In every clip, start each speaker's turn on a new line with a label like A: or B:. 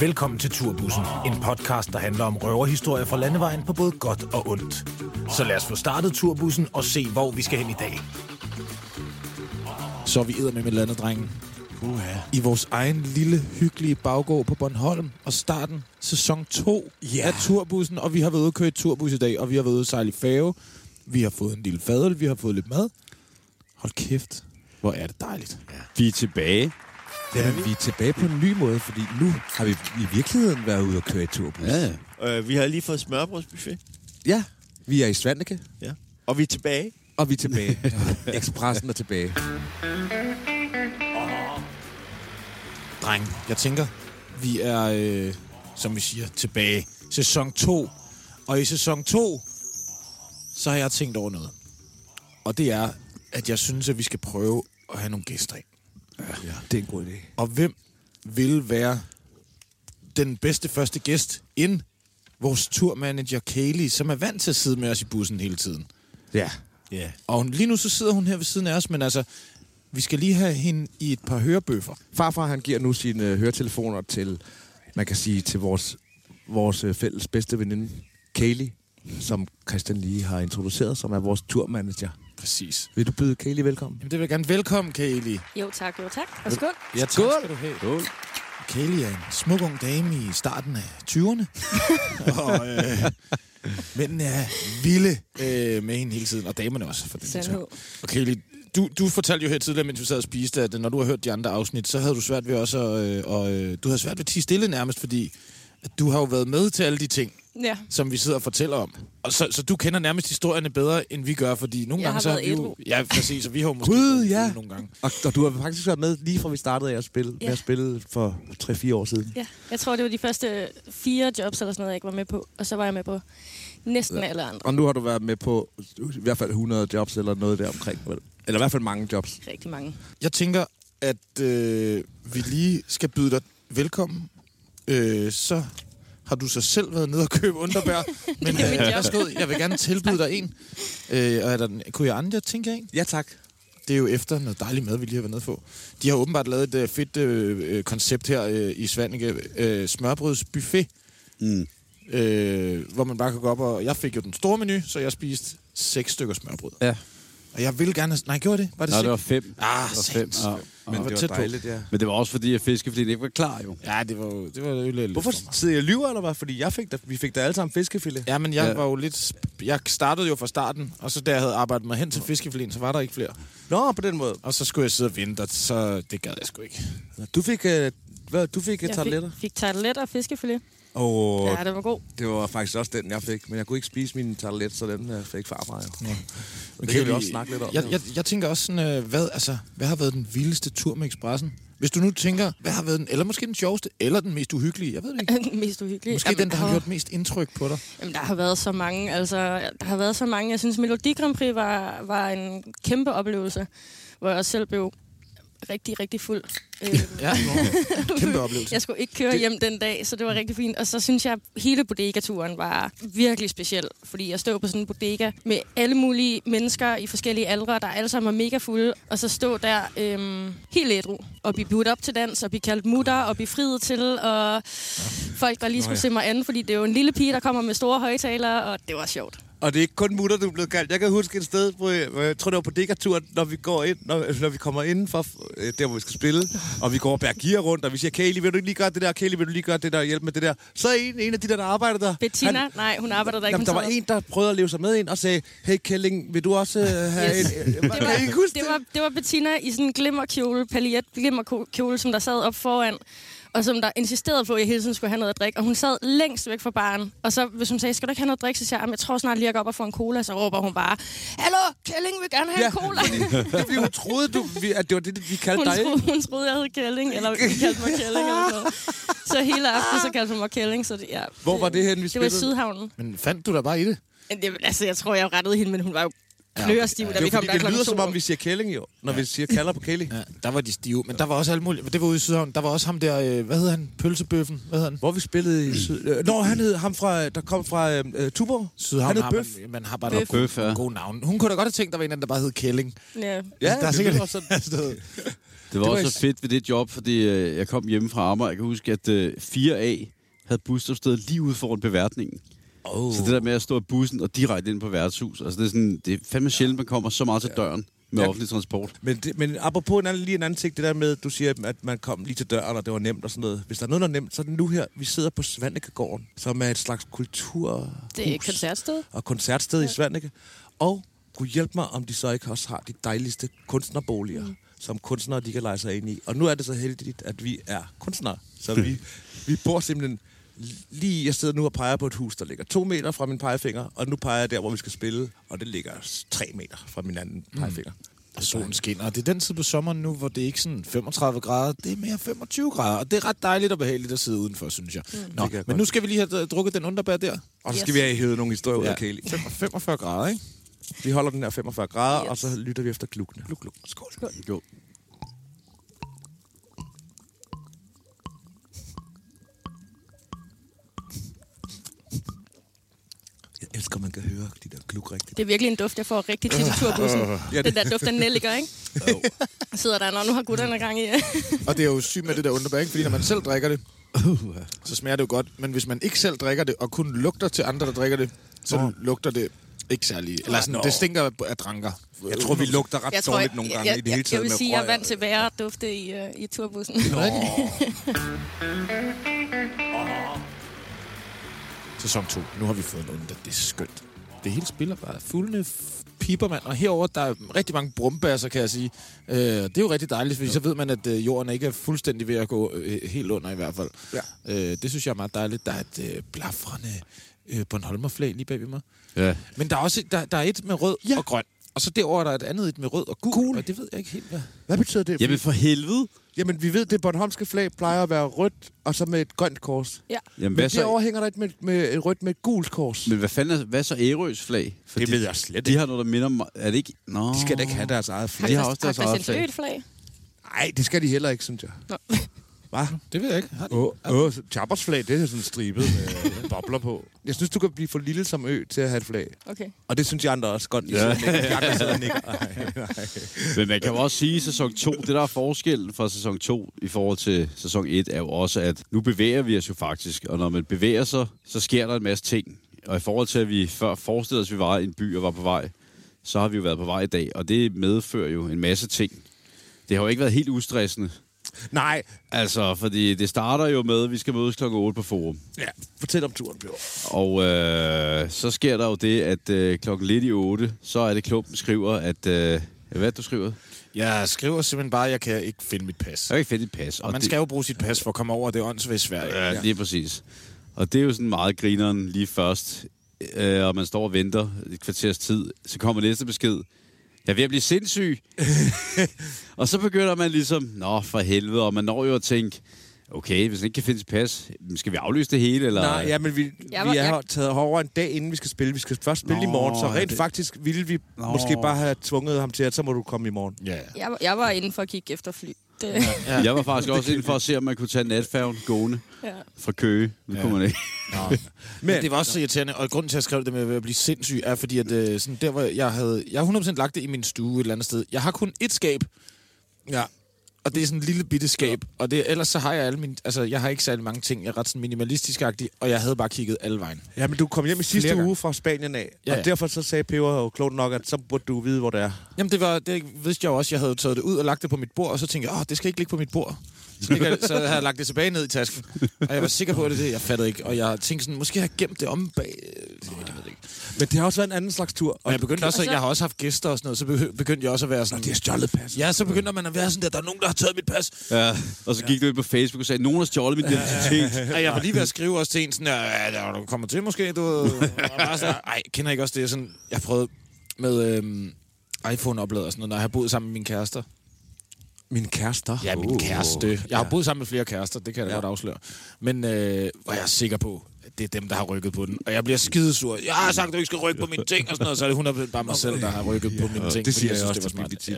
A: Velkommen til Turbussen, en podcast, der handler om røverhistorier fra landevejen på både godt og ondt. Så lad os få startet Turbussen og se, hvor vi skal hen i dag. Så er vi med med landet, drengen.
B: Uha.
A: I vores egen lille, hyggelige baggård på Bornholm og starten sæson 2
B: Ja.
A: af Turbussen. Og vi har været ude at køre i Turbus i dag, og vi har været ude at sejle i fave. Vi har fået en lille fadel, vi har fået lidt mad. Hold kæft, hvor er det dejligt.
B: Vi er tilbage.
C: Jamen, vi er tilbage på en ny måde, fordi nu har vi i virkeligheden været ude og køre i turbus.
B: Ja. Øh, vi har lige fået smørbrødsbuffet.
C: ja. Vi er i Svandike,
B: Ja. Og vi er tilbage.
C: og vi er tilbage. Expressen er tilbage.
A: dreng. Jeg tænker, vi er, øh, som vi siger, tilbage. Sæson 2. Og i sæson 2, så har jeg tænkt over noget. Og det er, at jeg synes, at vi skal prøve at have nogle gæster ind.
C: Det er en god idé.
A: Og hvem vil være den bedste første gæst end vores turmanager Kaylee, som er vant til at sidde med os i bussen hele tiden.
C: Ja.
B: Ja.
A: Og hun, lige nu så sidder hun her ved siden af os, men altså, vi skal lige have hende i et par hørebøffer.
C: Farfar, han giver nu sine øh, høretelefoner til, man kan sige, til vores, vores øh, fælles bedste veninde, Kaylee, som Christian lige har introduceret, som er vores turmanager.
A: Præcis.
C: Vil du byde Kaylee velkommen?
A: Jamen, det vil jeg gerne. Velkommen, Kaylee.
D: Jo tak, jo tak. Og skål.
A: Ja, tak skal du have. Skål. Kaylee er en smuk ung dame i starten af 20'erne. og øh, mændene er vilde øh, med hende hele tiden, og damerne også. For den sags skyld.
D: Sandhed.
A: Og Kaylee, du, du fortalte jo her tidligere, mens vi sad og spiste, at når du har hørt de andre afsnit, så havde du svært ved også at, øh, og, øh, du havde svært ved at tige stille nærmest, fordi at du har jo været med til alle de ting,
D: Ja,
A: som vi sidder og fortæller om. Og så, så du kender nærmest historierne bedre, end vi gør, fordi nogle
D: Jeg
A: gange
D: har
A: så har
D: været
A: vi jo...
D: ædru.
A: Ja, præcis, og vi har jo måske
C: Gud,
A: været
C: ja.
A: ædru nogle gange.
C: Og, og du har faktisk været med lige fra vi startede af at spille,
D: Ja.
C: med at spille for 3-4 år siden.
D: ja. Jeg tror, det var de første fire jobs eller sådan noget, jeg ikke var med på. Og så var jeg med på næsten ja. alle andre.
C: Og nu har du været med på i hvert fald 100 jobs eller noget der omkring. vel? Eller i hvert fald mange jobs.
D: Rigtig mange.
A: Jeg tænker, at øh, vi lige skal byde dig velkommen. Øh, så har du så selv været nede og købe underbær. men
D: Det er mit
A: øh,
D: job.
A: værsgo, jeg vil gerne tilbyde dig en. Øh, og er der en koriander, tænker jeg en?
C: Ja, tak.
A: Det er jo efter noget dejlig mad, vi lige har været nede på. De har åbenbart lavet et øh, fedt øh, øh, koncept her øh, i Svanike. Øh, smørbrødsbuffet.
B: Mm.
A: Øh, hvor man bare kan gå op og... Jeg fik jo den store menu, så jeg spiste seks stykker smørbrød.
C: Ja.
A: Og jeg ville gerne... have- Nej, gjorde jeg det? Var det
E: Nå,
A: seks?
E: det var fem.
A: Ah,
E: det var
A: sandt.
E: fem. Ja,
A: Men
E: ja.
A: det var dejligt,
C: ja.
E: Men det var også fordi, at fiskeflint ikke var klar, jo.
A: Ja, det var jo, det var jo lidt...
C: Hvorfor
A: for mig.
C: sidder jeg og lyver, eller hvad? Fordi jeg fik da, vi fik da alle sammen fiskefilet.
A: Ja, men jeg ja.
E: Ja.
A: var jo lidt... Jeg startede jo fra starten, og så da jeg havde arbejdet mig hen til fiskefilen, så var der ikke flere.
C: Nå, på den måde.
A: Og så skulle jeg sidde og vente, og så det gad jeg sgu ikke.
C: Du fik, øh, hvad, du fik jeg tarteletter.
D: fik, fik tarteletter og fiskefilet.
C: Og
D: Ja, det var god.
C: det var faktisk også den, jeg fik. Men jeg kunne ikke spise min tartelet, så den øh, fik farfar. Jo.
A: Ja.
C: Det kan vi også snakke lidt om.
A: Jeg, jeg, jeg tænker også sådan, øh, hvad, altså, hvad har været den vildeste tur med Expressen? Hvis du nu tænker, hvad har været den, eller måske den sjoveste, eller den mest uhyggelige, jeg ved det ikke.
D: Mest uhyggeligt.
A: Måske den, der har
D: åh,
A: gjort mest indtryk på dig.
D: Jamen, der har været så mange. Altså, der har været så mange. Jeg synes, Melodi Grand Prix var, var en kæmpe oplevelse, hvor jeg også selv blev rigtig, rigtig fuld. Øhm,
A: Ja, kæmpe oplevelse.
D: Jeg skulle ikke køre hjem den dag, så det var rigtig fint. Og så synes jeg, at hele bodegaturen var virkelig speciel. Fordi jeg stod på sådan en bodega med alle mulige mennesker i forskellige aldre, der alle sammen var mega fulde. Og så stod der øhm, helt ædru og blive budt op til dans, og blive kaldt mutter, og blive friet til. Og folk, der lige skulle se mig an, fordi det er jo en lille pige, der kommer med store højtalere, og det var sjovt.
C: Og det er ikke kun mutter, du er blevet kaldt. Jeg kan huske et sted, hvor jeg, hvor jeg tror, det var på Dikkerturen, når vi går ind, når, når vi kommer inden for øh, der, hvor vi skal spille, og vi går og bærer gear rundt, og vi siger, Kaylee, vil du ikke lige gøre det der? Kaylee, vil du lige gøre det der? Hjælp med det der. Så er en, en af de der, der arbejder der.
D: Bettina,
C: han-
D: nej, hun arbejder der ikke.
C: Jamen,
D: hun
C: der var
D: sad-
C: en, der prøvede at leve sig med ind og sagde, hey Kelling, vil du også øh, have
D: Yes.
C: en... Øh,
D: Det var,
C: kan I ikke huske
D: det, var, det var Bettina i sådan en glimmerkjole, paljet glimmerkjole, som der sad op foran, og som der insisterede på, at jeg hele tiden skulle have noget at drikke. Og hun sad længst væk fra baren. Og så, hvis hun sagde, skal du ikke have noget at drikke, så siger jeg, "Jamen, jeg tror snart lige, jeg går op og får en cola. Så råber hun bare, hallo, Kælling vil gerne have
C: Ja,
D: en cola.
C: det? Fordi hun troede, du, vi, at det var det, vi kaldte
D: Hun
C: dig.
D: troede, hun troede, jeg hed Kælling, eller kaldte mig Kælling eller noget. Så hele aften, så kaldte hun mig Kælling. Så det, ja,
C: Hvor var det henne, vi
D: Det var i
C: spillede?
D: Sydhavnen.
A: Men fandt du dig bare i det?
D: Men det, altså, jeg tror, jeg rettede hende, men hun var jo klørestiv, da
C: Det,
D: vi
C: var,
D: kom
C: fordi,
D: der
C: det
D: klokken
C: lyder som
D: to.
C: om, vi siger Kelling jo, når vi siger kalder på Kelly.
A: Ja, der var de stive, men der var også alt muligt. Det var ude i Sydhavn. Der var også ham der, øh, hvad hedder han? Pølsebøffen. Hvad hedder han?
C: Hvor vi spillede i Syd... Øh, Nå, han hed ham fra, der kom fra øh, øh, Tuborg.
A: Sydhavn
C: han hed Bøf.
A: har man, man har bare nogle
E: Bøf. Bøf, ja.
A: gode, gode navn. Hun kunne da godt have tænkt, der var en, anden, der bare hed Kælling.
D: Ja.
A: der er
C: det
A: sikkert-
C: lyder også sådan.
A: Altså, du ved,
E: Det var,
C: var
E: også
C: ikke-
E: så fedt ved det job, fordi øh, jeg kom hjemme fra Amager. Jeg kan huske, at øh, 4A havde busstopstedet lige ude foran beværtningen. Oh. Så det der med at stå i bussen og direkte ind på værtshus, altså det er, sådan, det er fandme sjældent, man kommer så meget til døren med
C: Jeg-
E: offentlig transport.
C: Men, det, men apropos en anden, lige en anden ting, det der med, du siger, at man kom lige til døren, og det var nemt og sådan noget. Hvis der er noget, der er nemt, så er det nu her. Vi sidder på Svannekegården, som er et slags kultur
D: Det er et koncertsted.
C: og koncertsted ja. i Svanike. Og kunne hjælpe mig, om de så ikke også har de dejligste kunstnerboliger, mm. som kunstnere de kan lege sig ind i. Og nu er det så heldigt, at vi er kunstnere. Så vi, vi bor simpelthen lige... Jeg sidder nu og peger på et hus, der ligger to meter fra min pegefinger, og nu peger jeg der, hvor vi skal spille, og det ligger s- tre meter fra min anden pegefinger.
A: Og solen skinner. Og det er den tid på sommeren nu, hvor det er ikke sådan 35 grader, det er mere 25 grader. Og det er ret dejligt og behageligt at sidde udenfor, synes jeg. Mm. Nå,
C: kan jeg
A: men
C: godt.
A: nu skal vi lige have øh, drukket den underbær der.
C: Og så skal
D: Yes.
C: yes. vi have hævet nogle historier ud af Kaylee.
A: 45 grader, ikke?
C: Vi holder den her 45 grader,
D: Yes.
C: yes. og så lytter vi efter klukkene. Kluk, kluk. Skål.
E: Jo.
C: Jeg elsker, at man kan høre de der kluk rigtigt.
D: Det er virkelig en duft, jeg får rigtig tit i turbussen. Den der duft af nelliker, ikke? Og sidder der, når nu har gutterne gang i.
A: Og det er jo sygt med det der underbær, ikke? Fordi når man selv drikker det, så smager det jo godt. Men hvis man ikke selv drikker det, og kun lugter til andre, der drikker det, så lugter det ikke særlig. Eller sådan, det stinker af- af dranker.
C: Jeg tror, vi lugter ret
D: Jeg tror,
C: dårligt
D: jeg,
C: nogle gange
D: jeg,
C: i det hele
D: jeg,
C: taget
D: jeg vil
C: med
D: sige, at jeg er
C: røg.
D: vant til værre dufte i, øh, i turbussen.
A: Sæson 2. Nu har vi fået en under. Det er skønt. Det hele spiller bare fuldene f- piber, mand. Og herover der er rigtig mange brumbasser, kan jeg sige. Øh, det er jo rigtig dejligt, fordi så ved man, at øh, jorden ikke er fuldstændig ved at gå øh, helt under i hvert fald.
C: Ja.
A: Øh, det synes jeg er meget dejligt. Der er et øh, blafrende øh, Bornholmerflag lige bag ved mig.
E: Ja.
A: Men der er også et- der, der er et med rød ja. og grøn. Og så derover der er et andet et med rød og gul. Og det ved jeg ikke helt, hvad...
C: Hvad betyder det?
E: Jamen for helvede!
C: Jamen, vi ved, det bornholmske flag plejer at være rødt, og så med et grønt kors.
D: ja.
E: Jamen,
C: Men
E: hvad,
C: derovre
E: så,
C: hænger der et, med, med et rødt med et gult kors.
E: men hvad fanden er, hvad er så Ærøs flag? Fordi
C: ved jeg slet
E: De har noget, der minder om... Er det ikke... Nå.
C: De skal da ikke have deres eget
E: De
C: flag.
E: har også deres
D: Har
E: eget
D: Christian Søe
E: flag.
D: et flag?
C: Nej, det skal de heller ikke, synes jeg.
D: Nå.
C: Hvad?
A: Mm, Det ved jeg ikke. Har de?
C: Åh, oh, oh, Chappers flag, det er sådan stribet med bobler på. Jeg synes, du kan blive for lille som ø til at have et flag.
D: Okay.
C: Og det synes jeg andre også godt. I ja. De andre sidder og nikker.
E: Men man kan jo også sige, at sæson 2, det der er forskellen fra sæson 2 i forhold til sæson 1, er jo også, at nu bevæger vi os jo faktisk, og når man bevæger sig, så sker der en masse ting. Og i forhold til, at vi før forestillede os, at vi var i en by og var på vej, så har vi jo været på vej i dag, og det medfører jo en masse ting. Det har jo ikke været helt ustressende,
C: Nej,
E: altså, fordi det starter jo med, at vi skal mødes kl. 8 på Forum.
C: ja, fortæl om turen, Bjørn.
E: Og øh, så sker der jo det, at øh, klokken lidt i 8, så er det klumpen skriver, at... Øh, hvad er det, du skriver?
A: Jeg skriver simpelthen bare, at jeg kan ikke finde mit pas.
E: Jeg kan ikke finde et pas.
A: Og man
E: det-
A: skal jo bruge sit pas for at komme over det åndssvage Sverige.
E: Ja, lige præcis. Og det er jo sådan meget grineren lige først, øh, og man står og venter et kvarters tid. Så kommer næste besked. Jeg er ved at blive sindssyg. og så begynder man ligesom, nå for helvede, og man når jo at tænke, okay, hvis den ikke kan finde sit pas, skal vi aflyse det hele? Eller?
C: Nej, ja, men vi,
D: Jeg
C: jeg
D: var-
C: vi er
D: jeg-
C: her taget over en dag, inden vi skal spille. Vi skal først spille Nå, i morgen, så
E: ja,
C: rent
E: det-
C: det... faktisk ville vi
E: Nå.
C: Nå. måske bare have tvunget ham til, at så må du komme i morgen.
A: Ja, ja.
D: Jeg, var- jeg var inde for at kigge efter fly. Det,
E: Jeg var faktisk også inde for at se, om man kunne tage natfærgen gående
D: ja.
E: fra Køge. Nu ja. kunne man ikke.
A: Men, det var også så irriterende, og grunden til, at jeg skrev det med at blive sindssyg, er fordi, at øh, sådan der, hvor jeg havde... Jeg har 100% lagt det i min stue et eller andet sted. Jeg har kun ét skab,
C: Ja.
A: og det er sådan et lille bitte skab. Og det, ellers så har jeg alle mine... Altså, jeg har ikke særlig mange ting. Jeg er ret sådan minimalistisk og jeg havde bare kigget alle vejen.
C: ja, men du kom hjem i sidste
A: Flere gange.
C: uge fra Spanien af,
A: Ja,
C: ja, ja.
A: ja.
C: og derfor så sagde Peber jo klogt nok, at så burde du vide, hvor det er.
A: Jamen, det, var, det vidste jeg jo også. Jeg havde taget det ud og lagt det på mit bord, og så tænkte jeg, åh, det skal ikke ligge på mit bord. Så, ligger det- så havde jeg lagt det tilbage ned i tasken. Og jeg var sikker på, at det er det. Jeg fattede ikke. Og jeg tænkte sådan, måske har jeg gemt det om bag... Jeg ved det ikke.
C: Men det har også været en anden slags tur.
A: Og jeg begyndte også, at, jeg har også haft gæster og sådan noget, så behy- begyndte jeg også at være sådan...
C: de har stjålet pas.
A: Ja, så begynder man at være sådan der, der er nogen, der har taget mit pas.
E: Ja. Og så gik du ind på Facebook og sagde, nogen har stjålet min identitet.
A: Og jeg var lige ved at skrive også til en sådan, "Ja, ja, du kommer til måske, du... Og bare sådan, Ej, kender I ikke også det? Sådan, jeg prøvede med øhm, iPhone-oplader og sådan noget, når jeg har boet sammen med mine kærester.
C: Min kærester.
A: Ja, min kæreste. Jeg har boet sammen med flere kærester, det kan jeg da ja. godt afsløre. Men øh, hvor jeg er sikker på, at det er dem, der har rykket på den. Og jeg bliver skidesur. Jeg har sagt, at du ikke skal rykke på mine ting og sådan noget, så er det 100% bare mig selv, der har rykket på mine ting.
C: det siger
A: fordi
C: jeg også
A: synes,
C: til Bibi tit.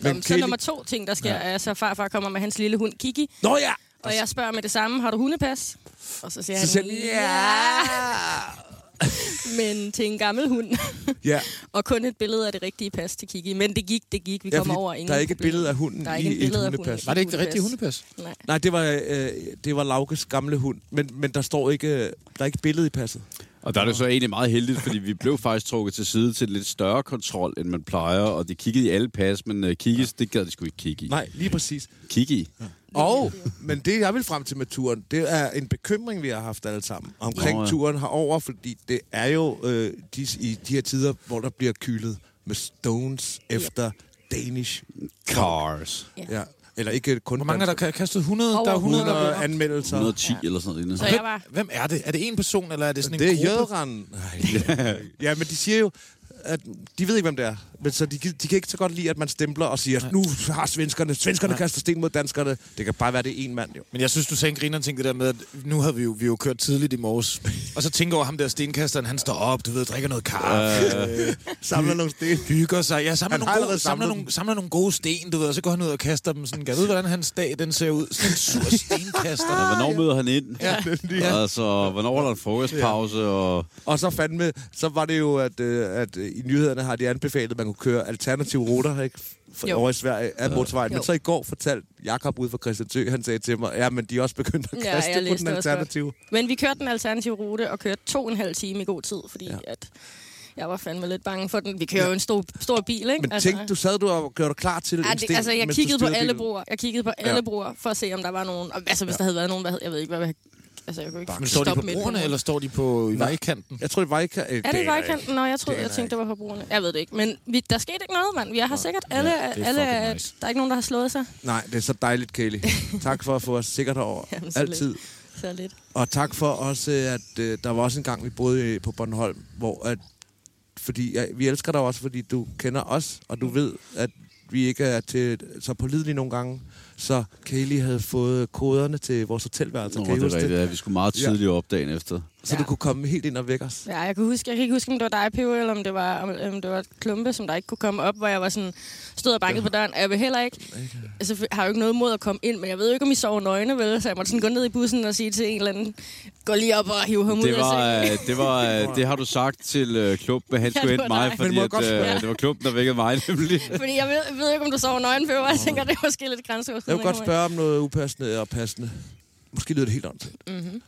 D: Men så
C: Kelly-
D: nummer to ting, der sker, ja. er, så farfar kommer med hans lille hund Kiki,
C: Nå ja!
D: og jeg spørger med det samme, har du hundepas? Og så siger
C: Så
D: han,
C: siger han,
D: ja. men til en gammel hund.
C: Ja.
D: og kun et billede af det rigtige pas til Kiki. Men det gik, det gik. Vi
C: Ja,
D: kom
C: fordi
D: over ingen
C: der er ikke et
D: problemer.
C: billede af hunden
D: Der er
C: i
D: ikke et
C: et
D: billede af
C: hundepas.
D: hunden. i
A: Var det ikke det rigtige
D: hundepas.
A: hundepas?
D: Nej.
C: Nej, det var, øh, det var Laukes gamle hund, men, men der står ikke, øh, der er ikke billede i passet.
E: Og der er det så egentlig meget heldigt, fordi vi blev faktisk trukket til side til en lidt større kontrol, end man plejer, og de kiggede i alle pas, men uh, kigges, det gad de sgu ikke kigge i.
C: Nej, lige præcis.
E: Kigge i.
C: Og, men det, jeg vil frem til med turen, det er en bekymring, vi har haft alle sammen omkring
E: Nå,
C: Nå,
E: ja.
C: ja. turen herover, fordi det er jo øh, de, i de her tider, hvor der bliver kylet med stones efter Danish.
E: Cars.
C: Ja. Eller ikke kun
A: Hvor mange er der ka- kastet? 100?
D: Over
A: der er 100, der er blevet
C: Under
A: ramt.
C: anmeldelser.
E: 110 eller sådan noget.
D: Så
E: lignende.
D: jeg var...
A: Hvem er det? Er det en person, eller er det sådan
C: Det
A: en
C: er
A: gruppe?
C: jøderen. ja, men de siger jo, at de ved ikke, hvem det er. Men så de, de kan ikke så godt lide, at man stempler og siger, nu har svenskerne, svenskerne kaster sten mod danskerne. Det kan bare være, det er en mand, jo.
A: Men jeg synes, du sagde en griner ting, det der med, at nu havde vi jo, vi jo kørt tidligt i morges. Og så tænker over ham der stenkasteren, han står op, du ved, drikker noget kaffe, øh.
C: Samler nogle sten.
A: hygger sig. Ja, samler,
C: Han har
A: nogle gode,
C: allerede
A: samler,
C: samlet
A: nogle, samler nogle gode sten, du ved, og så går han ud og kaster dem sådan. Kan du vide, hvordan hans dag den ser ud? Sådan en sur
E: Ja,
A: stenkaster.
E: hvornår møder han ind? Ja, altså, hvornår holder han frokostpause? Og...
C: Og så fandme, så var det jo, at, øh, at øh, i nyhederne har de anbefalet, at man kunne køre alternative ruter, ikke? For,
D: Jo.
C: over i Sverige af motorvejen. Men
D: Jo.
C: så i går fortalte Jakob ude fra Christiansø, han sagde til mig, ja, men de er også begyndt at
D: Ja,
C: kaste
D: jeg
C: ja, på
D: læste
C: den
D: det også
C: alternative.
D: Men vi kørte den alternative rute og kørte to og en halv time i god tid, fordi
C: Ja.
D: ja. at jeg var fandme lidt bange for den. Vi kører jo en stor, stor bil, ikke?
C: Men tænk, du sad du og gjorde dig klar til
D: Altså, Ja,
C: en sten,
D: det, altså, jeg
C: mens du
D: kiggede på
C: styrede
D: alle
C: bilen.
D: broer. Jeg kiggede på alle broer for at se, om der var nogen... og- Altså, hvis der havde været nogen, hvad hed, jeg ved ikke, hvad... Altså, jeg kunne ikke
A: Men står de
D: stoppe
A: på
D: midt
A: broerne,
D: broen.
A: eller står de på i vejkanten?
C: Jeg tror, det var ikke... Øh,
D: Er det
C: aner
D: i
C: jeg
D: vejkanten? Nå, jeg troede,
C: Det
D: jeg
C: aner
D: tænkte, det var på broerne. Jeg ved det ikke, men vi, der skete ikke noget, mand. Vi er her sikkert. Alle,
A: Ja, det er
D: alle,
A: fucking nice.
D: Der er ikke nogen, der har slået sig.
C: Nej, det er så dejligt, Kaylee. Tak for at få os sikkert over.
D: Jamen, så
C: Altid.
D: Så lidt.
C: Og tak for også, øh, at øh, der var også en gang, vi boede øh, på Bornholm, hvor at, fordi, ja, vi elsker dig også, fordi du kender os, og
D: Mm.
C: du ved, at vi ikke er til, så pålidelige nogle gange. Så Kaylee havde fået koderne til vores hotelværelse.
E: Nå,
C: kan I
E: det er
C: huske
E: rigtigt.
C: det?
E: Ja, vi skulle meget
C: Ja.
E: tidligt op dagen efter.
C: Så du kunne komme helt ind og vække os.
D: Ja, jeg, kan huske, jeg kan ikke huske, om det var dig, Pivo, eller om det var, om, om det var Klumpe, som der ikke kunne komme op, hvor jeg var sådan, stod og bankede på døren, og jeg vil heller ikke, altså, jeg har jo ikke noget mod at komme ind, men jeg ved jo ikke, om I sover nøgne, vel? Så jeg måtte sådan gå ned i bussen og sige til en eller anden, gå lige op og hive ham ud
E: Det var,
D: af sengen.
E: øh, det, var, øh, det har du sagt til øh, klubben, han skulle
D: det
E: hente
D: var
E: mig,
D: dig.
E: fordi
C: Men må jeg
E: at,
C: godt spørge?
E: øh, det var klubben, der vækkede mig nemlig.
D: Fordi jeg ved, jeg ved ikke, om du sover nøgen, Pivo, og jeg tænker, det er måske lidt grænseoverskridende.
C: Jeg vil godt
D: ikke?
C: spørge om noget upassende og passende. Måske lyder det helt åndssvagt. Mm-hmm.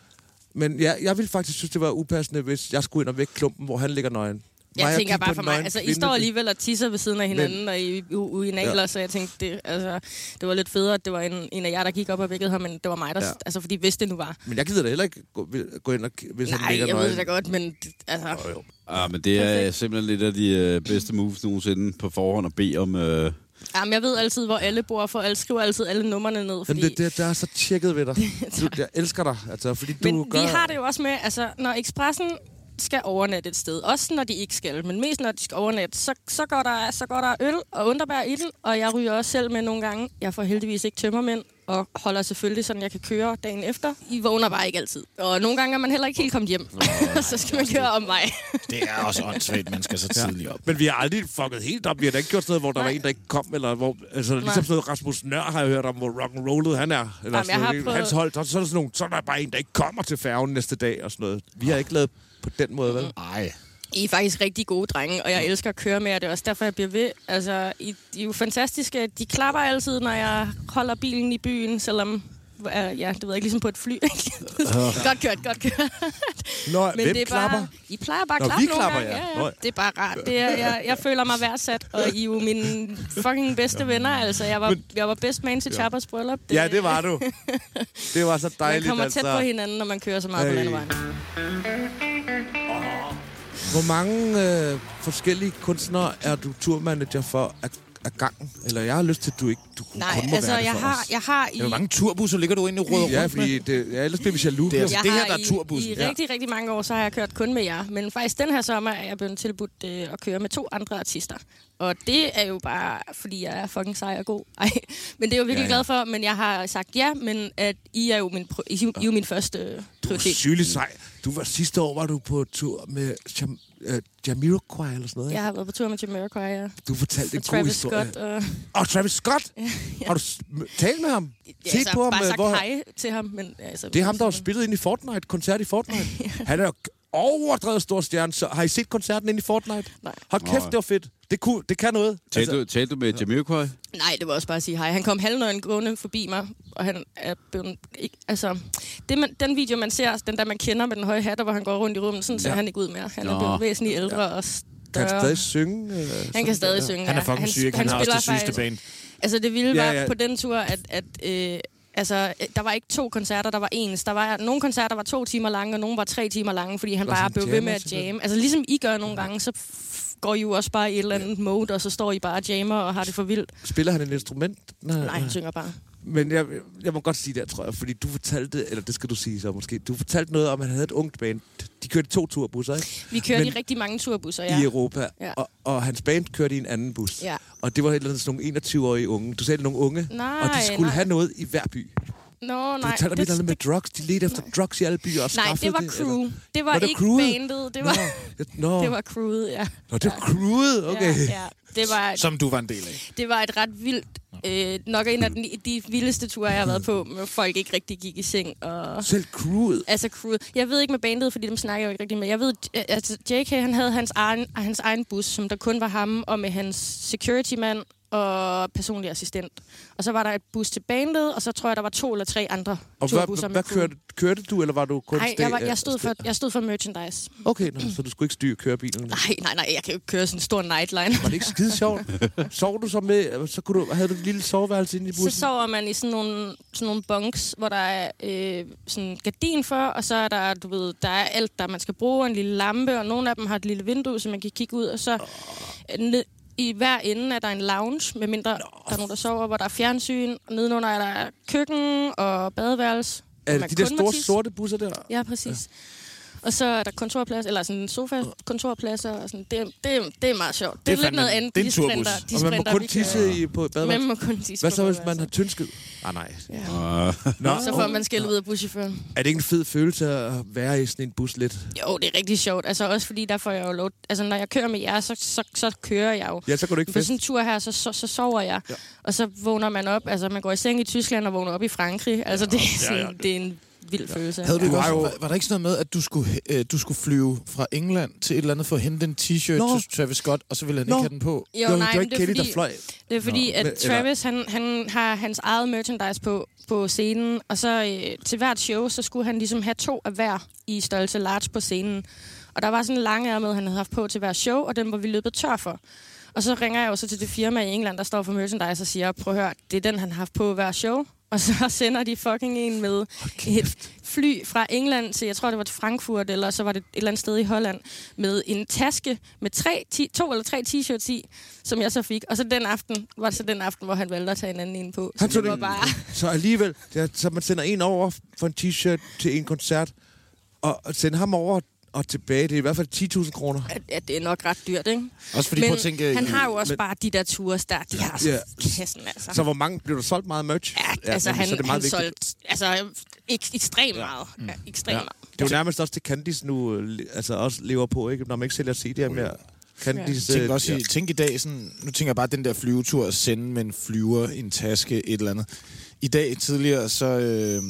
C: Men ja, jeg ville faktisk synes, det var upassende, hvis jeg skulle ind og vække klumpen, hvor han ligger nøgen.
D: Jeg
C: Mig at
D: tænker
C: kigge på
D: bare
C: en
D: for mig,
C: nøgen
D: altså I
C: kvinde,
D: står
C: det-
D: alligevel og tisser ved siden af hinanden, Men... og I er ude i nagler, ja. så jeg tænkte, det, altså, det var lidt federe, at det var en, en af jer, der gik op og vækkede ham, men det var mig, der,
C: Ja.
D: ja. altså fordi hvis det nu var.
C: Men jeg gider da heller ikke gå, vil- gå ind og k- hvis han
D: Nej,
C: ligger
D: jeg ved det da
C: nøgen.
D: godt, men det- altså, jo, jo.
E: Ja, Ah, men det er simpelthen lidt af de øh, bedste moves nogensinde på forhånd at bede om... Øh,
D: Jamen, jeg ved altid, hvor alle bor, for alle skriver altid alle numrene ned, fordi...
C: Jamen, det, det, der er så tjekket ved dig. Du, jeg elsker dig, altså, fordi du
D: men vi
C: gør...
D: har det jo også med, altså, når ekspressen skal overnatte et sted, også når de ikke skal, men mest når de skal overnatte, så, så, går, der, så går der øl og underbær i den, og jeg ryger også selv med nogle gange. Jeg får heldigvis ikke tømmermænd, og holder selvfølgelig sådan, jeg kan køre dagen efter. I vågner bare ikke altid. Og nogle gange er man heller ikke helt kommet hjem, og så skal man køre om mig.
A: Det er også åndssvagt, man skal så tidligt op.
C: Men vi har aldrig fucket helt op. Vi har da ikke gjort sådan noget, hvor der var en, der ikke kom, eller hvor... Altså, ligesom sådan noget, Rasmus Nør har jeg hørt om, hvor rock'n'rollet han er. Eller
D: jeg
C: sådan
D: har
C: noget.
D: prøvet-
C: Hans hold, så, så er der sådan nogle... Så er der bare en, der ikke kommer til færgen næste dag og sådan noget. Vi har ikke lavet på den måde, vel?
A: Nej.
D: I er faktisk rigtig gode drenge, og jeg elsker at køre med jer. Det er også derfor, jeg bliver ved. Altså, I, I er jo fantastiske. De klapper altid, når jeg holder bilen i byen, selvom... øh, Ja, det ved jeg ikke, ligesom på et fly. ikke? godt kørt, godt kørt.
C: Nå,
D: Men
C: hvem
D: det er
C: klapper?
D: Bare, I plejer bare at
C: Nå,
D: klappe
C: vi
D: nogle
C: klapper,
D: gange.
C: ja.
D: Ja,
C: Nå,
D: ja.
C: ja.
D: Det er bare rart. Det er, jeg, jeg føler mig værdsat, og I er jo mine fucking bedste venner. Altså, jeg var, jeg var best man til Chappers bryllup.
C: Ja, det var du. Det var så
D: Man
C: dejligt,
D: kommer tæt
C: altså.
D: på hinanden, når man kører så meget på
C: Ej.
D: landevejen.
C: Hvor mange øh, forskellige kunstnere er du turmanager for af, af gangen? Eller jeg har lyst til, at du ikke du kunne
D: Nej,
C: kun må
D: altså,
C: være det
D: jeg
C: for
D: har,
C: os.
D: jeg har i...
A: Hvor mange turbusser ligger du inde i Røde
C: Ja, fordi det, ja, ellers bliver vi jaloux.
A: Det er-
C: jo.
A: det her,
D: har
A: der er turbussen.
D: I, i
A: Ja.
D: rigtig, rigtig mange år, så har jeg kørt kun med jer. Men faktisk den her sommer er jeg blevet tilbudt øh, at køre med to andre artister. Og det er jo bare, fordi jeg er fucking sej og god. Ej, men det er jeg jo virkelig ja, ja. glad for. Men jeg har sagt ja, men at I er jo min, pro- I, I er jo min første øh,
C: Du er
D: prioritet.
C: sygelig sej. Du var sidste år, var du på tur med Jam, øh, Jamiroquai eller sådan noget.
D: Jeg
C: Ja.
D: har været på tur med Jamiroquai ja.
C: Du fortalte en
D: og
C: god
D: Travis
C: historie.
D: Scott. Og,
C: Og Travis Scott! Har du s- m- talt med ham?
D: ja,
C: Set
D: altså,
C: på ham?
D: bare
C: øh,
D: sagt
C: hvor-
D: hej til ham. Men, altså,
C: Det er ham, der har spillet ind i Fortnite, koncert i Fortnite. Han er jo overdrevet stor stjerne. Så har I set koncerten inde i Fortnite?
D: Nej.
C: Hold kæft, det var fedt. Det, kunne, det kan noget. Altså,
E: Talte du, talte du med Jamiroquai?
D: Nej, det var også bare at sige hej. Han kom halvnøgen gående forbi mig, og han er blevet... Ikke, altså, det man, den video, man ser, den der, man kender med den høje hat, og hvor han går rundt i rummet, sådan ja. ser han ikke ud mere. Han er
E: Nå.
D: blevet væsentligt ældre
C: Kan
D: og større.
C: han stadig synge? øh,
D: han
C: sådan
D: kan
C: der?
D: stadig synge.
A: Han er
D: ja.
A: fucking syg, ikke? Han, han har også
D: spiller
A: det sygeste
D: faktisk-
A: band.
D: Altså, det vilde
C: Ja,
D: var
C: ja.
D: på den tur, at... at øh, Altså, øh, der var ikke to koncerter, der var ens. Der var nogle koncerter, var to timer lange, og nogle var tre timer lange, fordi han
C: Og
D: bare
C: sådan
D: blev ved med
C: jammer
D: at
C: simpelthen.
D: jamme. Altså, ligesom I gør nogle gange, så f- går I jo også bare i et eller andet mode, og så står I bare og jammer og har det for vildt.
C: Spiller han et instrument?
D: Nej, han synger bare.
C: Men jeg, jeg må godt sige det, tror jeg, fordi du fortalte, eller det skal du sige så måske, du fortalte noget om, at han havde et ungt band. De kørte to turbusser, ikke?
D: Vi kørte
C: Men-
D: i rigtig mange turbusser,
C: Ja.
D: ja.
C: I Europa.
D: Ja.
C: Og, og hans band kørte i en anden bus.
D: Ja.
C: Og det var et eller andet sådan nogle 21-årige unge. Du sagde nogle unge.
D: Nej,
C: og de skulle
D: nej.
C: have noget i hver by.
D: Nå,
C: Du
D: nej.
C: fortalte om et eller andet med drugs. De ledte efter drugs i alle byer og
D: nej,
C: skaffede
D: det var
C: det.
D: crew.
C: eller-
D: Det, det var,
C: Var det
D: ikke
C: crewet?
D: bandet, det var,
C: Nå, Nå.
D: det var crewet, ja.
C: Nå, det var crewet. Okay.
D: ja, ja. Det, var,
A: Som du var en del af.
D: det var et ret vildt, øh, nok en af de, de vildeste ture, jeg har været på, hvor folk ikke rigtig gik i seng. Og,
C: Selv crewet.
D: altså crewet. Jeg ved ikke med bandet, fordi dem snakker jeg jo ikke rigtig med. Jeg ved, øh, altså JK, han havde hans egen, hans egen bus, som der kun var ham, og med hans security mand og personlig assistent. Og så var der et bus til bandet, og så tror jeg, der var to eller tre andre
C: Og hvad,
D: turbusser med
C: hvad
D: crew.
C: kørte, kørte du, eller var du kun
D: Nej,
C: stæ-
D: jeg, var, jeg,
C: øh,
D: stod for, jeg stod for merchandise.
C: Okay, nå, så du skulle ikke styre kørebilen.
D: Nej, nej, nej, jeg kan jo ikke køre sådan en stor nightliner.
C: Var det ikke skide sjovt? Sov du så med? Så kunne du, havde du et lille soveværelse inde i
D: Så
C: bussen?
D: sover man i sådan nogle, sådan nogle bunks, hvor der er øh, sådan en gardin for, og så er der, du ved, der er alt, der man skal bruge, og en lille lampe, og nogle af dem har et lille vindue, så man kan kigge ud, og så øh, ned, i hver ende er der en lounge, med mindre der er nogen, der sover, hvor der er fjernsyn, og nedenunder er der køkken og badeværelse. hvor
C: Er
D: man
C: det de der
D: kun må
C: store
D: tisse.
C: sorte busser der?
D: Ja, præcis. Og så er der kontorplads, eller sådan sofa-kontorpladser. Og sådan. Det, er- det, er- det er meget sjovt. Det,
A: Det er
D: det er lidt
A: fandme-
D: noget andet.
A: det er en
D: de sprinter,
A: turbus.
D: de
C: Og man må
D: sprinter
C: kun
D: virkelig.
C: tisse i, på
D: Man
C: badeværelset?
D: må kun tisse
C: Hvad så,
D: på
C: hvis man
D: badeværelset.
C: har tyndsket? Ah, nej.
D: Ja.
C: Nå,
D: Så får man skæld ud af buschaufføren.
C: Er det ikke en fed følelse at være i sådan en bus lidt?
D: Jo, det er rigtig sjovt. Altså også fordi, der får jeg jo lov... Altså når jeg kører med jer, så, så, så kører jeg jo.
C: Ja, så kan du ikke
D: På
C: fest.
D: sådan en tur her, så, så, så sover jeg.
C: Ja.
D: Ja. Og så vågner man op. Altså man går i seng i Tyskland og vågner op i Frankrig. Altså det, er sådan, ja, ja. det er en vild ja. følelse.
A: Havde du
D: ja.
A: ikke også, var, var der ikke sådan noget med, at du skulle, øh, du skulle flyve fra England til et eller andet for at hente en t-shirt
C: Nå.
A: til Travis Scott, og så ville han
C: Nå.
A: ikke have den på?
D: Jo,
C: det var,
D: nej,
C: det var
D: men
C: ikke
D: det er
C: Kelly, der
D: fordi-
C: fløj.
D: Det er fordi, Nå, at
C: men- eller-
D: Travis, han, han har hans eget merchandise på, på scenen, og så øh, til hvert show, så skulle han ligesom have to af hver i størrelse large på scenen. Og der var sådan en lange med, han havde haft på til hver show, og den var vi løbet tør for. Og så ringer jeg jo så til det firma i England, der står for merchandise, og siger, prøv at høre, det er den, han har haft på hver show. Og så sender de fucking en med et fly fra England til, jeg tror det var til Frankfurt, eller så var det et eller andet sted i Holland, med en taske med tre, ti, to eller tre t-shirts i, som jeg så fik. Og så den aften, var det så den aften, hvor han valgte at tage en anden en på. Så
C: Han tog
D: det var
C: den-
D: bare...
C: Så alligevel, det er, så man sender en over for en t-shirt til en koncert, og og sender ham over og tilbage. Det er i hvert fald 10.000 kroner.
D: at- at det er nok ret dyrt, ikke?
A: Også fordi, prøv
D: Men
A: at tænke...
D: han har jo også
C: men-
D: men... bare de der ture, der, de har
C: Ja.
D: så kassen, altså.
C: Så hvor mange blev der solgt meget merch?
D: Ja, altså,
C: men
D: han,
C: så er
D: det
C: det
D: han
C: meget vigtigt. Mm.
D: solgte altså, ek, ekstremt meget. Ja, ekstremt
C: Ja.
D: meget.
C: Det er jo nærmest også det, Candice nu øh, le- altså også lever på, ikke? når man ikke sælger CD'er mere. Candice,
A: Tænk,
C: øh,
A: også
C: ja.
A: i, tænk i dag, sådan, nu tænker jeg bare den der flyvetur at sende med en flyver, en taske, et eller andet. I dag tidligere, så... Øh,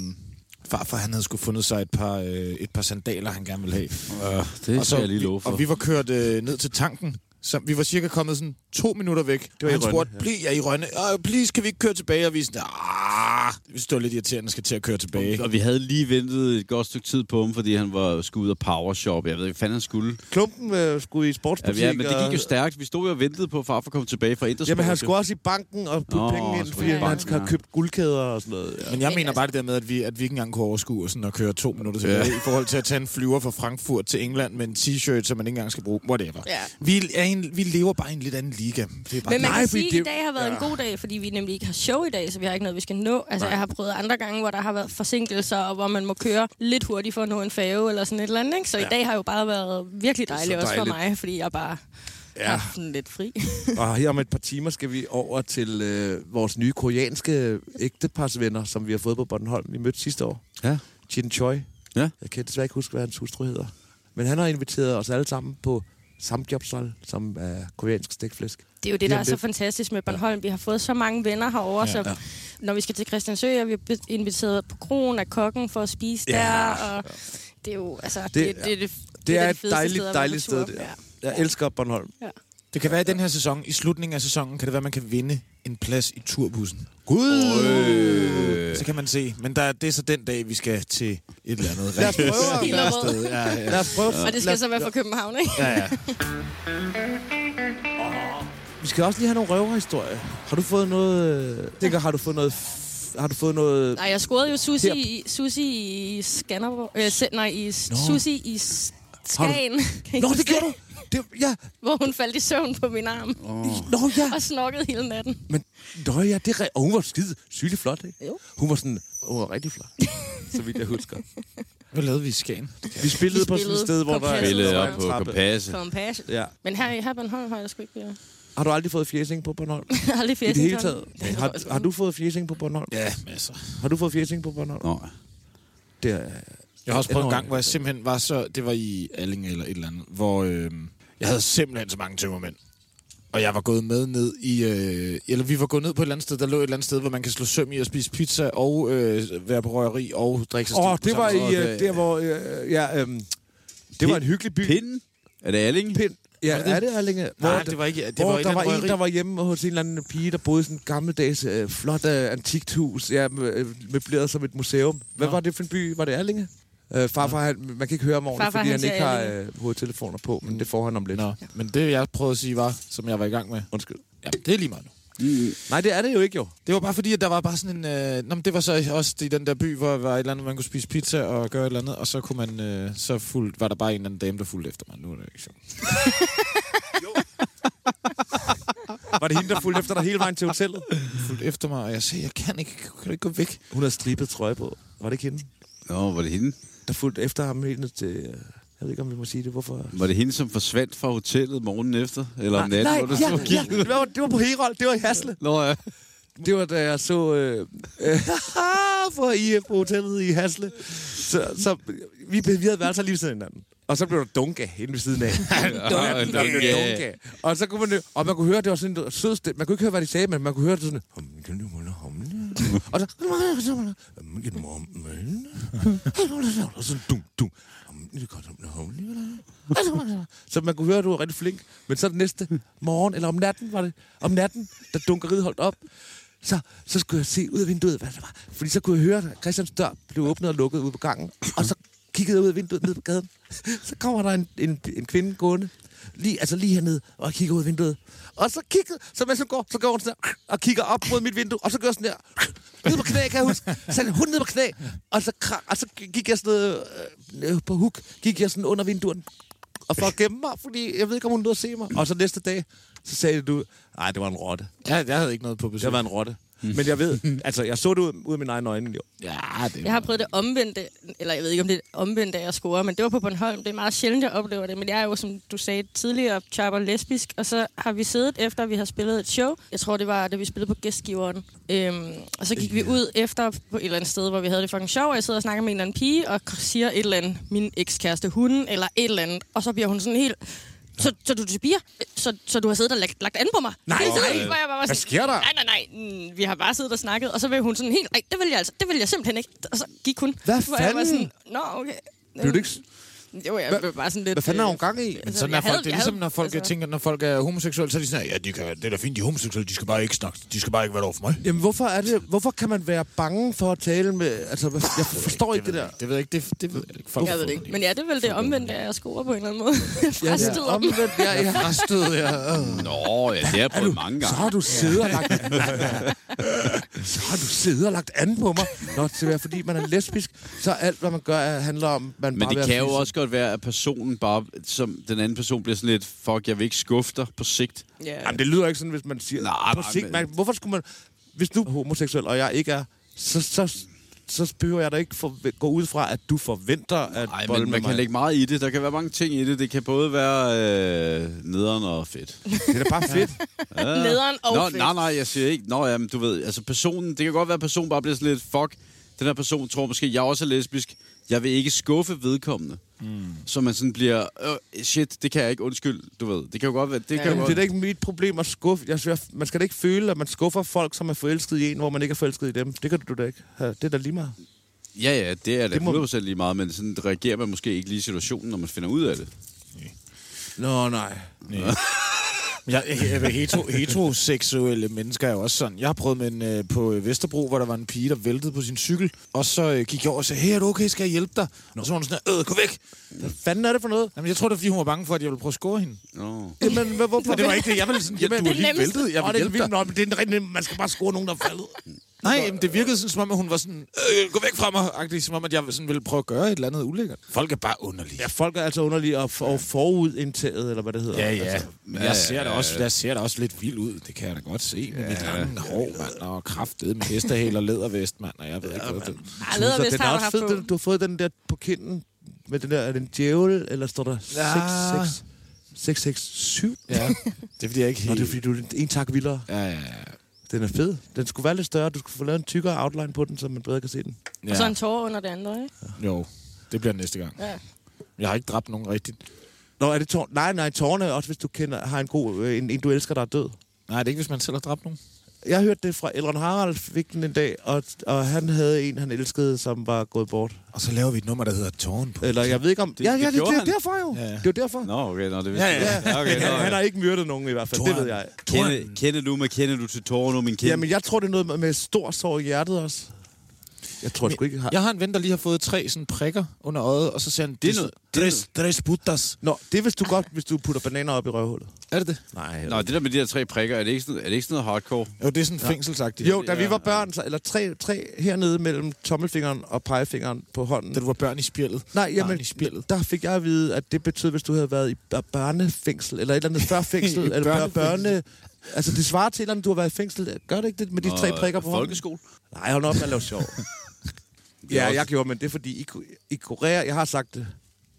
A: farfar, han havde skulle fundet sig et par, øh, et par sandaler, han gerne ville have.
E: Ja, det skal jeg lige love for.
A: Og vi var kørt øh, ned til tanken. Så vi var cirka kommet sådan to minutter væk. Det
C: var
A: var
C: i
A: han
C: Rønne,
A: spurgte,
C: ja.
A: bliv jeg i Rønne. Øh, please, kan vi ikke køre tilbage? Og vi sådan, "Ah, det vil stå lidt irriterende, skal til at køre tilbage.
E: Og vi havde lige ventet et godt stykke tid på ham, fordi han var skulle ud og powershop. Jeg ved ikke, hvad fanden han skulle.
C: Klumpen øh, skulle i
E: Ja,
C: sportsbutik.
E: ja, men det gik jo
C: og-
E: stærkt. Vi stod jo og ventede på, at far kom tilbage fra Intersport.
C: Jamen, han
E: jo.
C: skulle også i banken og putte
E: Nå,
C: oh, penge ind,
E: skulle
C: fordi
D: i
C: ja. han
E: banken,
C: skal have
E: ja.
C: købt guldkæder og sådan noget. Ja.
A: Men jeg
D: Men
A: mener
D: altså-
A: bare det der med, at vi, at vi ikke engang kunne overskue sådan at køre to minutter tilbage ja. i forhold til at tage en flyver fra Frankfurt til England med en t-shirt, som man ikke engang skal bruge. Whatever.
D: Ja.
A: Vi, er i en, vi lever bare i en lidt anden liga. Det er bare
D: Men man
C: Nej,
D: kan
C: fordi
D: sige, at
C: det-
D: i dag har været
C: ja.
D: en god dag, fordi vi nemlig ikke har show i dag, så vi har ikke noget, vi skal nå. Altså, jeg har prøvet andre gange, hvor der har været forsinkelser, og hvor man må køre lidt hurtigt for at nå en fave eller sådan et eller andet. Ikke? Så ja. i dag har jo bare været virkelig dejligt, også for mig, fordi jeg bare ja. har haft den lidt fri.
C: Og her om et par timer skal vi over til øh, vores nye koreanske ægteparsvenner, som vi har fået på Bornholm. Vi mødte sidste år.
E: Ja.
C: Chin Choi.
E: Ja.
C: Jeg kan desværre ikke huske, hvad hans hustru hedder. Men han har inviteret os alle sammen på samjobsal, som er koreansk stegflæsk.
D: Det er jo det,
C: Lige
D: der
C: om
D: er så
C: lidt.
D: fantastisk med Bornholm. Vi har fået så mange venner herovre, ja, så ja. når vi skal til Christiansø, er vi be- inviteret på krogen af kokken for at spise ja, der. Og ja. Det er jo altså, det,
C: Det-
D: det, det, det
C: Det
D: et
C: er
D: af de
C: et
D: fedeste
C: dejligt,
D: steder at være
C: dejligt
D: på
C: sted.
D: tur.
C: Det er.
D: Ja.
C: Jeg elsker Bornholm.
A: Det kan være, at den her sæson, i slutningen af sæsonen, kan det være, at man kan vinde en plads i turbussen.
C: Gud!
A: Så kan man se. Men der, det er så den dag, vi skal til et eller andet
C: Lad os
A: rigtig
C: prøve.
D: Helt
A: sted.
D: opad.
A: Ja, ja.
C: Lad os prøve.
D: Og det
C: lad
D: skal
C: os-
D: så være fra København, ikke?
A: ja, ja.
C: Vi skal også lige have nogle røverhistorier. Har du fået noget... øh, Tænker, har du fået noget... f- Har du fået noget...
D: Nej, jeg scorede jo sushi,
C: Her.
D: i, sushi i Skanderborg. Øh, se- nej, i no. sushi i S- Skagen. Kan I
C: Nå,
D: huske
C: det gjorde du! Det, ja,
D: Hvor hun faldt i søvn på min arm
C: nå ja!
D: og snokkede hele natten.
C: Men, nå ja, det er re- Og hun var skide sygelig flot, ikke?
D: Jo.
C: Hun var sådan... Hun var rigtig flot. så vidt jeg husker.
A: Hvad lavede vi i Skagen?
C: Vi spillede på sådan et
D: spillede
C: sted, hvor der...
D: kompasset.
E: Billede
C: der
E: op
C: var en
E: på
C: trappe.
E: kompasset.
D: Kompasset.
C: Ja.
D: Men her i her Bornholm har jeg sgu ikke været.
C: Har du aldrig fået fjesing på Bornholm? I
D: Jeg har aldrig
C: det
D: fjersen
C: hele taget? Har, har du fået fjesing på Bornholm?
A: Ja, masser.
C: Har du fået fjesing på Bornholm?
E: Nå,
C: Det er...
A: Jeg har også prøvet en
C: Enormt.
A: gang, hvor jeg simpelthen var så... Det var i Alling eller et eller andet, hvor øh, jeg havde simpelthen så mange tømmermænd. Og jeg var gået med ned i... Øh, eller vi var gået ned på et eller andet sted. Der lå et eller andet sted, hvor man kan slå søm i og spise pizza og øh, være på røgeri og drikke sig stiv
C: Åh,
A: på
C: oh, det
A: samme
C: var
A: måde.
C: i... Øh, der, hvor... Øh, ja, øhm, det var en hyggelig by.
E: Pinden? Er det Alling?
C: Pind. Ja, er det Erlinge? Hvor
A: Nej,
C: der-
A: det var ikke... Det
C: Det
A: var
C: hvor
A: et
C: der
A: eller
C: var
A: andet
C: en, der
A: røgeri.
C: var hjemme hos en eller anden pige, der boede i sådan et gammeldags øh, flot øh, antikt hus, ja, med- øh, møbleret som et museum. Hvad
A: Nå.
C: var det for en by? Var det Erlinge? Øh, farfar, han, man kan ikke høre om ordentligt,
D: Farfar,
C: fordi han
D: han
C: ikke
D: siger
C: har
D: Erlinge.
C: øh, hovedtelefoner på, men det får han om lidt.
A: Nå, men det jeg prøvede at sige var, som jeg var i gang med.
C: Undskyld.
A: Ja, det er lige meget nu.
C: Nej, det er det jo ikke jo.
A: Det var bare fordi, at der var bare sådan en... Øh, nå, men det var så også i den der by, hvor der var et eller andet, man kunne spise pizza og gøre et eller andet, og så kunne man... Øh, så fuldt, var der bare en eller anden dame, der fulgte efter mig. Nu er det ikke sjovt.
C: Var det hende, der fulgte efter dig hele vejen til hotellet?
A: Fulgte efter mig, og jeg sagde, jeg kan ikke, kan du ikke gå væk?
C: Hun havde stribet trøje på. Var det ikke hende,
E: Nå, var det hende?
C: der fulgte efter ham helt ned til... øh, Jeg ved ikke, om vi må sige det. Hvorfor?
E: Var det hende, som forsvandt fra hotellet morgenen efter? Eller
C: Ah,
E: om natten? hvor du stod og kiggede?
C: det, var, det var på Herold. Det var i Hasle.
E: Nå, ja.
C: Det var, da jeg så øh, øh, på IF på hotellet i Hasle. Så, så vi, vi havde været så lige ved siden af hinanden. Og så blev der dunk af inde ved siden af.
E: Ja,
C: Der blev
E: ja.
C: dunk af. Og så kunne man, jo- og man kunne høre, det var sådan en sød stemme. Man kunne ikke høre, hvad de sagde, men man kunne høre det sådan... Og så... Og så dunk, dunk. Så man kunne høre, at du var rigtig flink. Men så den næste morgen, eller om natten var det, om natten, da dunkeriet holdt op, så, så skulle jeg se ud af vinduet, hvad det var. Fordi så kunne jeg høre, at Christians dør blev åbnet og lukket ude på gangen. Og så kiggede jeg ud af vinduet ned på gaden. Så kommer der en, en, en kvinde gående. Lige, altså lige hernede, og jeg kigger ud af vinduet. Og så kigger, så mens hun går, så går hun sådan der, og kigger op mod mit vindue, og så gør jeg sådan der, ned på knæ, kan jeg huske. Så hun ned på knæ, og så, kra- og så gik jeg sådan noget, øh, øh, på huk, gik jeg sådan under vinduerne, og for at gemme mig, fordi jeg ved ikke, om hun nåede at se mig. Og så næste dag, så sagde du, nej, det var en rotte.
A: Jeg, jeg havde ikke noget på besøg.
C: Det var en rotte. Men jeg ved, altså, jeg så det ud, ud af mine egne øjne. Jo.
A: Ja, det
D: Jeg har prøvet det omvendte, eller jeg ved ikke, om det er omvendt, at jeg scorer, men det var på Bornholm. Det er meget sjældent, jeg oplever det, men jeg er jo, som du sagde tidligere, chopper lesbisk, og så har vi siddet efter, vi har spillet et show. Jeg tror, det var, da vi spillede på gæstgiveren. Øhm, og så gik vi ud efter på et eller andet sted, hvor vi havde det fucking sjov, og jeg sidder og snakker med en eller anden pige, og siger et eller andet, min ekskæreste hun, eller et eller andet, og så bliver hun sådan helt... Så, så du er til piger? Så, så du har siddet og lagt, lagt an på mig?
C: Nej,
D: Hele tiden,
C: nej.
D: hvor jeg bare var
C: Hvad
D: sådan,
C: sker der?
D: Nej, nej, nej. Mm, Vi har bare siddet og snakket, og så vil hun sådan helt... Nej, det vil jeg altså. Det vil jeg simpelthen ikke. Og så gik hun.
C: Hvad
D: Hvor jeg var
C: fanden?
D: sådan, Nå, okay.
C: Blev du ikke... s-
D: Jo, jeg
C: Hvad-
D: blev bare sådan lidt...
C: Hvad fanden er hun
D: øh,
C: gang i?
A: Men
D: altså,
A: sådan er
D: jeg
A: folk.
D: havde-
A: det er
D: jeg
A: ligesom,
D: havde-
A: når folk, jeg
D: altså-
A: tænker, når folk er homoseksuelle, så er de sådan, her, ja, de kan, det er da fint, de er homoseksuelle, de skal bare ikke snakke, de skal bare ikke være over for mig.
C: Jamen, hvorfor, er det, hvorfor kan man være bange for at tale med... Altså, hvad- jeg forstår ikke det der.
A: Det ved jeg ikke, det, det ved jeg ikke. Folk
D: Jeg ved det ikke. Men ja, det er vel det omvendte, at jeg scorer på en eller anden måde.
C: Ja, det
D: Frastøder.
C: er omvendt. Ja, ja.
A: Restød, ja. øh.
E: Nå, ja, det er prøvet mange
C: Så
E: gange.
C: har du siddet og lagt... så har du siddet og lagt an på mig. Nå, det er fordi, man er lesbisk, så alt, hvad man gør, er- handler om... Man
E: Men
C: bare vil
E: det
C: have
E: kan jo
C: fisse.
E: også godt være, at personen bare, som den anden person bliver sådan lidt, fuck, jeg vil ikke skuffe dig på sigt.
D: Ja.
C: Jamen, det lyder ikke sådan, hvis man siger...
E: Nej,
C: på sigt,
E: men-
C: man, hvorfor skulle man... Hvis du er homoseksuel, og jeg ikke er, så, så, så behøver jeg da ikke forve- gå ud fra, at du forventer at
E: Nej,
C: bolle
E: men
C: med
E: man kan
C: mig.
E: lægge meget i det. Der kan være mange ting i det. Det kan både være øh, nederen og fedt.
C: Det er da bare fedt.
D: Nederen og
E: Nå,
D: fedt.
E: nej, nej, jeg siger ikke. Nå, jamen, du ved, altså personen, det kan godt være, at personen bare bliver sådan lidt, fuck, den her person tror måske, jeg også er lesbisk. Jeg vil ikke skuffe vedkommende. Mm. Så man sådan bliver, øh, shit, det kan jeg ikke, undskyld, du ved. Det kan jo godt være, det ja, kan jo
C: Jamen, det er
E: godt.
C: da ikke mit problem at skuffe. Jeg synes, man skal da ikke føle, at man skuffer folk, som er forelsket i en, hvor man ikke er forelsket i dem. Det kan du da ikke. have. Det er da lige meget.
E: Ja, ja, det er da
C: Det må-
E: 100% lige meget, men sådan reagerer man måske ikke lige i situationen, når man finder ud af det.
C: Nå, nej.
A: Men Jeg, jeg, jeg, ved, hetero, heteroseksuelle mennesker er jo også sådan. Jeg har prøvet med en, øh, på øh, Vesterbro, hvor der var en pige, der væltede på sin cykel. Og så øh, gik jeg over og sagde, hey, er du okay? Skal jeg hjælpe dig? Og så var hun sådan, øh, gå væk! Hvad fanden er det for noget? Jamen, jeg tror, det er, fordi hun var bange for, at jeg ville prøve at score hende.
E: Nå.
C: Jamen, hvad, hvorfor?
A: Og det var ikke det. Jeg ville sådan, jamen, du er
D: det er
A: lige
D: nemmest.
A: væltet. Jeg
C: Åh,
A: vil
C: det er
A: hjælpe dig.
C: vildt nok, men det er en rigtig, man skal bare score nogen, der er faldet.
A: Nej, jamen, det virkede sådan, som om, at hun var sådan, øh, gå væk fra mig, agtig, som om, at jeg sådan ville prøve at gøre et eller andet ulækkert. Folk er bare underlige.
C: Ja, folk er altså underlige og, for, og forudindtaget, eller hvad det hedder.
A: Ja, ja. Altså, men jeg ser, da også, jeg ser da også lidt vild ud. Det kan jeg da godt se med mit lange hår, mand. Og kraftet med hestehæl og lædervest, mand. Og jeg ved ikke, hvad det
D: Ej, ledervest
C: den
D: har
C: er også
D: du haft
C: fed,
D: på.
C: den, du har fået den der på kinden. Med den der, er det en djævel, eller står der 667? 667?
A: Ja, det er fordi, jeg ikke
C: Nå,
A: helt...
C: det er fordi, du er en tak vildere.
A: Ja, ja, ja.
C: Den er fed. Den skulle være lidt større. Du skulle få lavet en tykkere outline på den, så man bedre kan se den.
D: Og så en tårer under det andet, ikke?
A: Jo, det bliver næste gang.
D: Ja.
A: Jeg har ikke dræbt nogen rigtigt.
C: Nå, er det tår? Nej, nej, tårne er også, hvis du kender, har en god, øh, en, en, du elsker, der er død.
A: Nej, det er ikke, hvis man selv har dræbt nogen.
C: Jeg hørte det fra Elrond Harald fik den en dag, og, og han havde en, han elskede, som var gået bort.
A: Og så laver vi et nummer, der hedder Tårn på.
C: Eller jeg ved ikke om... Det, ja, ja,
E: det
C: det, det,
E: gjorde
C: det er
E: han.
C: derfor jo.
A: Ja, ja.
C: Ja. Det er jo derfor.
E: Nå, okay, nå, det vidste
A: Ja, ja.
E: jeg. Okay,
C: Men
E: nå,
C: han, han
E: ja.
C: har ikke myrdet nogen i hvert fald, det ved jeg.
E: Kende, kende du med, kende du til tårer nu, min kende?
C: Jamen, jeg tror, det er noget med- med stor sorg i hjertet også. Jeg tror sgu ikke, jeg har...
A: Jeg har en ven, der lige har fået tre sådan prikker under øjet, og så siger han, det
E: er noget- det er
A: Tres, tres putas.
C: Nå, det er hvis du godt, hvis du putter bananer op i røvhullet.
A: Er det det?
C: Nej.
E: Nå, det der med de der tre prikker, er det ikke sådan, er det ikke sådan noget hardcore?
A: Jo, det er sådan fængselsagtigt.
C: Jo, da vi var børn, så, eller tre, tre hernede mellem tommelfingeren og pegefingeren på hånden.
A: Da du var børn i spjældet.
C: Nej, jamen,
A: Barn i spjældet.
C: der fik jeg at vide, at det betød, hvis du havde været i bør- børnefængsel, eller et eller andet før fængsel, eller bør- børne... Altså, det svarer til, et eller andet, du har været i fængsel. Gør det ikke det med de
E: Nå,
C: tre prikker på hånden?
E: Folkeskole?
C: Nej, hold nu op med at lave sjov. ja, jeg gjorde, men det er fordi, i, Ko- i Korea, jeg har sagt det,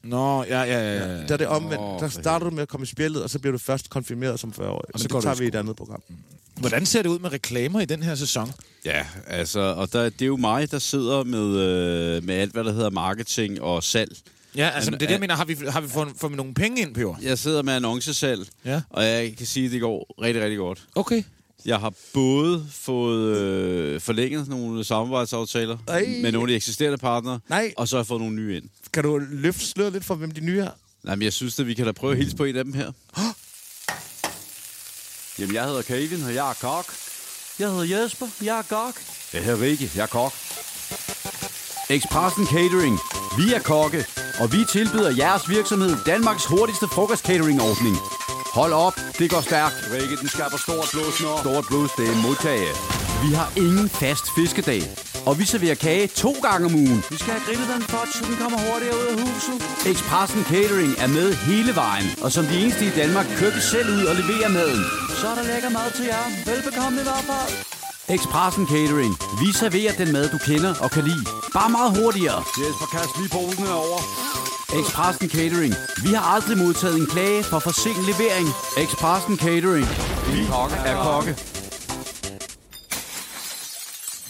A: Nå, ja, ja, ja. ja.
C: der er Øh, det omvendt. der
E: Åh, for
C: starter du med at komme i spjældet, og så bliver du først konfirmeret som 40-årig. Men
A: så
C: så
A: går
C: det
A: du
C: tager
A: i
C: vi i et andet program.
B: Mm.
A: Hvordan ser det ud med reklamer i den her sæson?
E: Ja, altså, og der, det er jo mig, der sidder med, øh, med alt, hvad der hedder marketing og salg.
A: Ja, altså,
E: Men,
A: det er det, jeg
E: øh,
A: mener. Har vi, har vi fået, fået nogle penge ind på jord?
E: Jeg sidder med annoncesalg,
A: Ja.
E: og jeg kan sige, at det går rigtig, rigtig godt.
A: Okay.
E: Jeg har både fået øh, forlænget nogle samarbejdsaftaler
C: Ej.
E: med nogle af de eksisterende partnere,
C: Nej.
E: og så har jeg fået nogle nye ind.
C: Kan du løfte sløret lidt for, hvem de nye er?
E: Nej, men jeg synes, at vi kan da prøve at hilse på en af dem her. Jamen, jeg hedder Kevin, og jeg er kok. Jeg hedder Jesper, jeg er kok. Jeg hedder Rikke, jeg er kok. Expressen Catering. Vi er kokke, og vi tilbyder jeres virksomhed Danmarks hurtigste frokost-catering-ordning. Hold op, det går stærkt. Rikke, den skaber stort blodsnår. Stort blodsdag modtage. Vi har ingen fast fiskedag, og vi serverer kage to gange om ugen. Vi skal have grillet den pot, så den kommer hurtigere ud af huset. Expressen Catering er med hele vejen, og som de eneste i Danmark kører vi selv ud og leverer maden. Så er der lækker mad til jer. Velbekomme i hvert fald. Expressen Catering. Vi serverer den mad, du kender og kan lide. Bare meget hurtigere. Jesper, kast lige posen herover. Expressen Catering. Vi har aldrig modtaget en klage for for sen levering. Expressen Catering. Vi er kokke.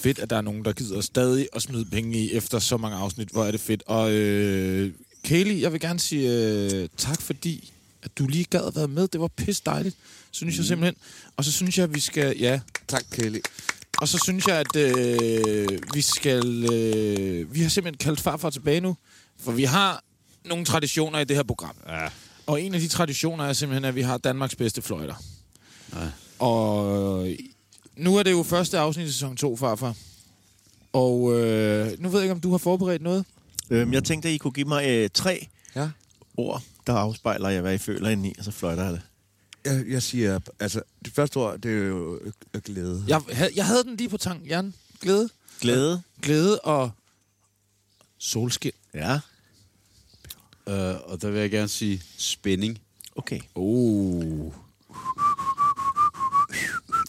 A: Fedt, at der er nogen, der gider stadig at smide penge i efter så mange afsnit. Hvor er det fedt. Og øh, Kaylee, jeg vil gerne sige øh, tak, fordi at du lige gad at være med. Det var pis dejligt, synes jeg simpelthen. Og så synes jeg, at vi skal... Ja,
C: Tak, Kelly.
A: og så synes jeg, at øh, vi skal... Øh, vi har simpelthen kaldt farfar tilbage nu, for vi har nogle traditioner i det her program. Ja. Og en af de traditioner er simpelthen, at vi har Danmarks bedste fløjter. Ja. Og nu er det jo første afsnit i sæson 2, farfar. Og øh, nu ved jeg ikke, om du har forberedt noget.
B: Øhm, jeg tænkte, at I kunne give mig øh, tre
C: Ja?
B: ord, der afspejler, jeg, hvad I føler ind i, og så fløjter jeg det.
C: Jeg, jeg siger, altså, det første ord, det er jo øh, øh, glæde.
A: Jeg, hav- jeg havde den lige på tanken, Jan. Glæde.
B: Glæde.
A: Glæde og solskin.
B: Ja,
E: Øh, og der vil jeg gerne sige spænding. Uh.
B: okay.
A: Oh.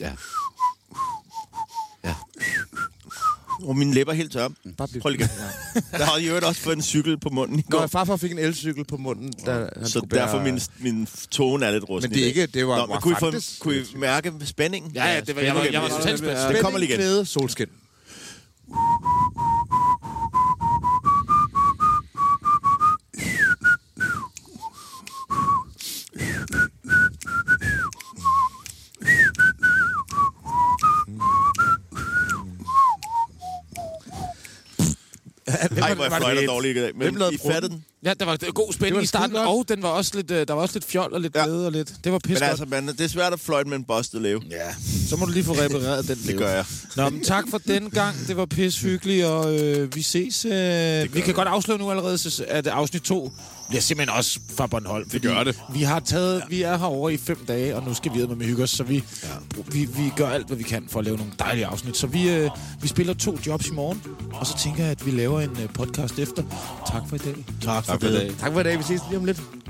E: Ja.
B: Og mine læber er helt tørre.
C: Bare bliv-
B: Prøv lige igen. Der har I jo også fået en cykel på munden i
C: Mm. Nå,
B: går.
C: farfar fik en elcykel på munden, da han
B: Så
C: skulle bære-
B: derfor min, min tone er lidt rusten
C: Men det er
B: i dag.
C: ikke- det var-
B: Nå,
C: var
B: men kunne, I
C: faktisk-
B: få, kunne I mærke spændingen?
A: Ja, ja, det var, jeg, var, jeg var totalt spændt.
B: Det kommer lige igen.
C: Glæde, solskin.
B: Ej, hvor er fløjter dårligt i dag.
C: Hvem
B: Men
C: lavede
B: I fattede den.
A: Ja, der var god
C: Det var
A: spænding i
C: sgu
A: starten,
C: godt.
A: og den var også lidt, øh, der var også lidt fjol og lidt
B: Ja.
A: glæde og lidt... Det var pisse
B: Men
A: godt.
B: altså, man, det er svært at fløjte med en bustet leve.
A: Ja, så må du lige få repareret den
B: Det gør jeg.
A: Nå, men tak for den gang. Det var pisse hyggeligt, og øh, vi ses. Øh, vi kan godt afsløre nu allerede, så- at afsnit 2 bliver simpelthen også fra Bornholm. Det
C: gør det.
A: Vi, har taget, vi er herovre i fem dage, og nu skal vi med med hygge os, så vi, ja. vi, vi gør alt, hvad vi kan for at lave nogle dejlige afsnit. Så vi, øh, vi spiller to jobs i morgen, og så tænker jeg, at vi laver en øh, podcast efter. Tak for i dag.
B: Tak for
E: Tak for i dag.
B: det.
C: Tak for i dag. Vi ses lige om lidt.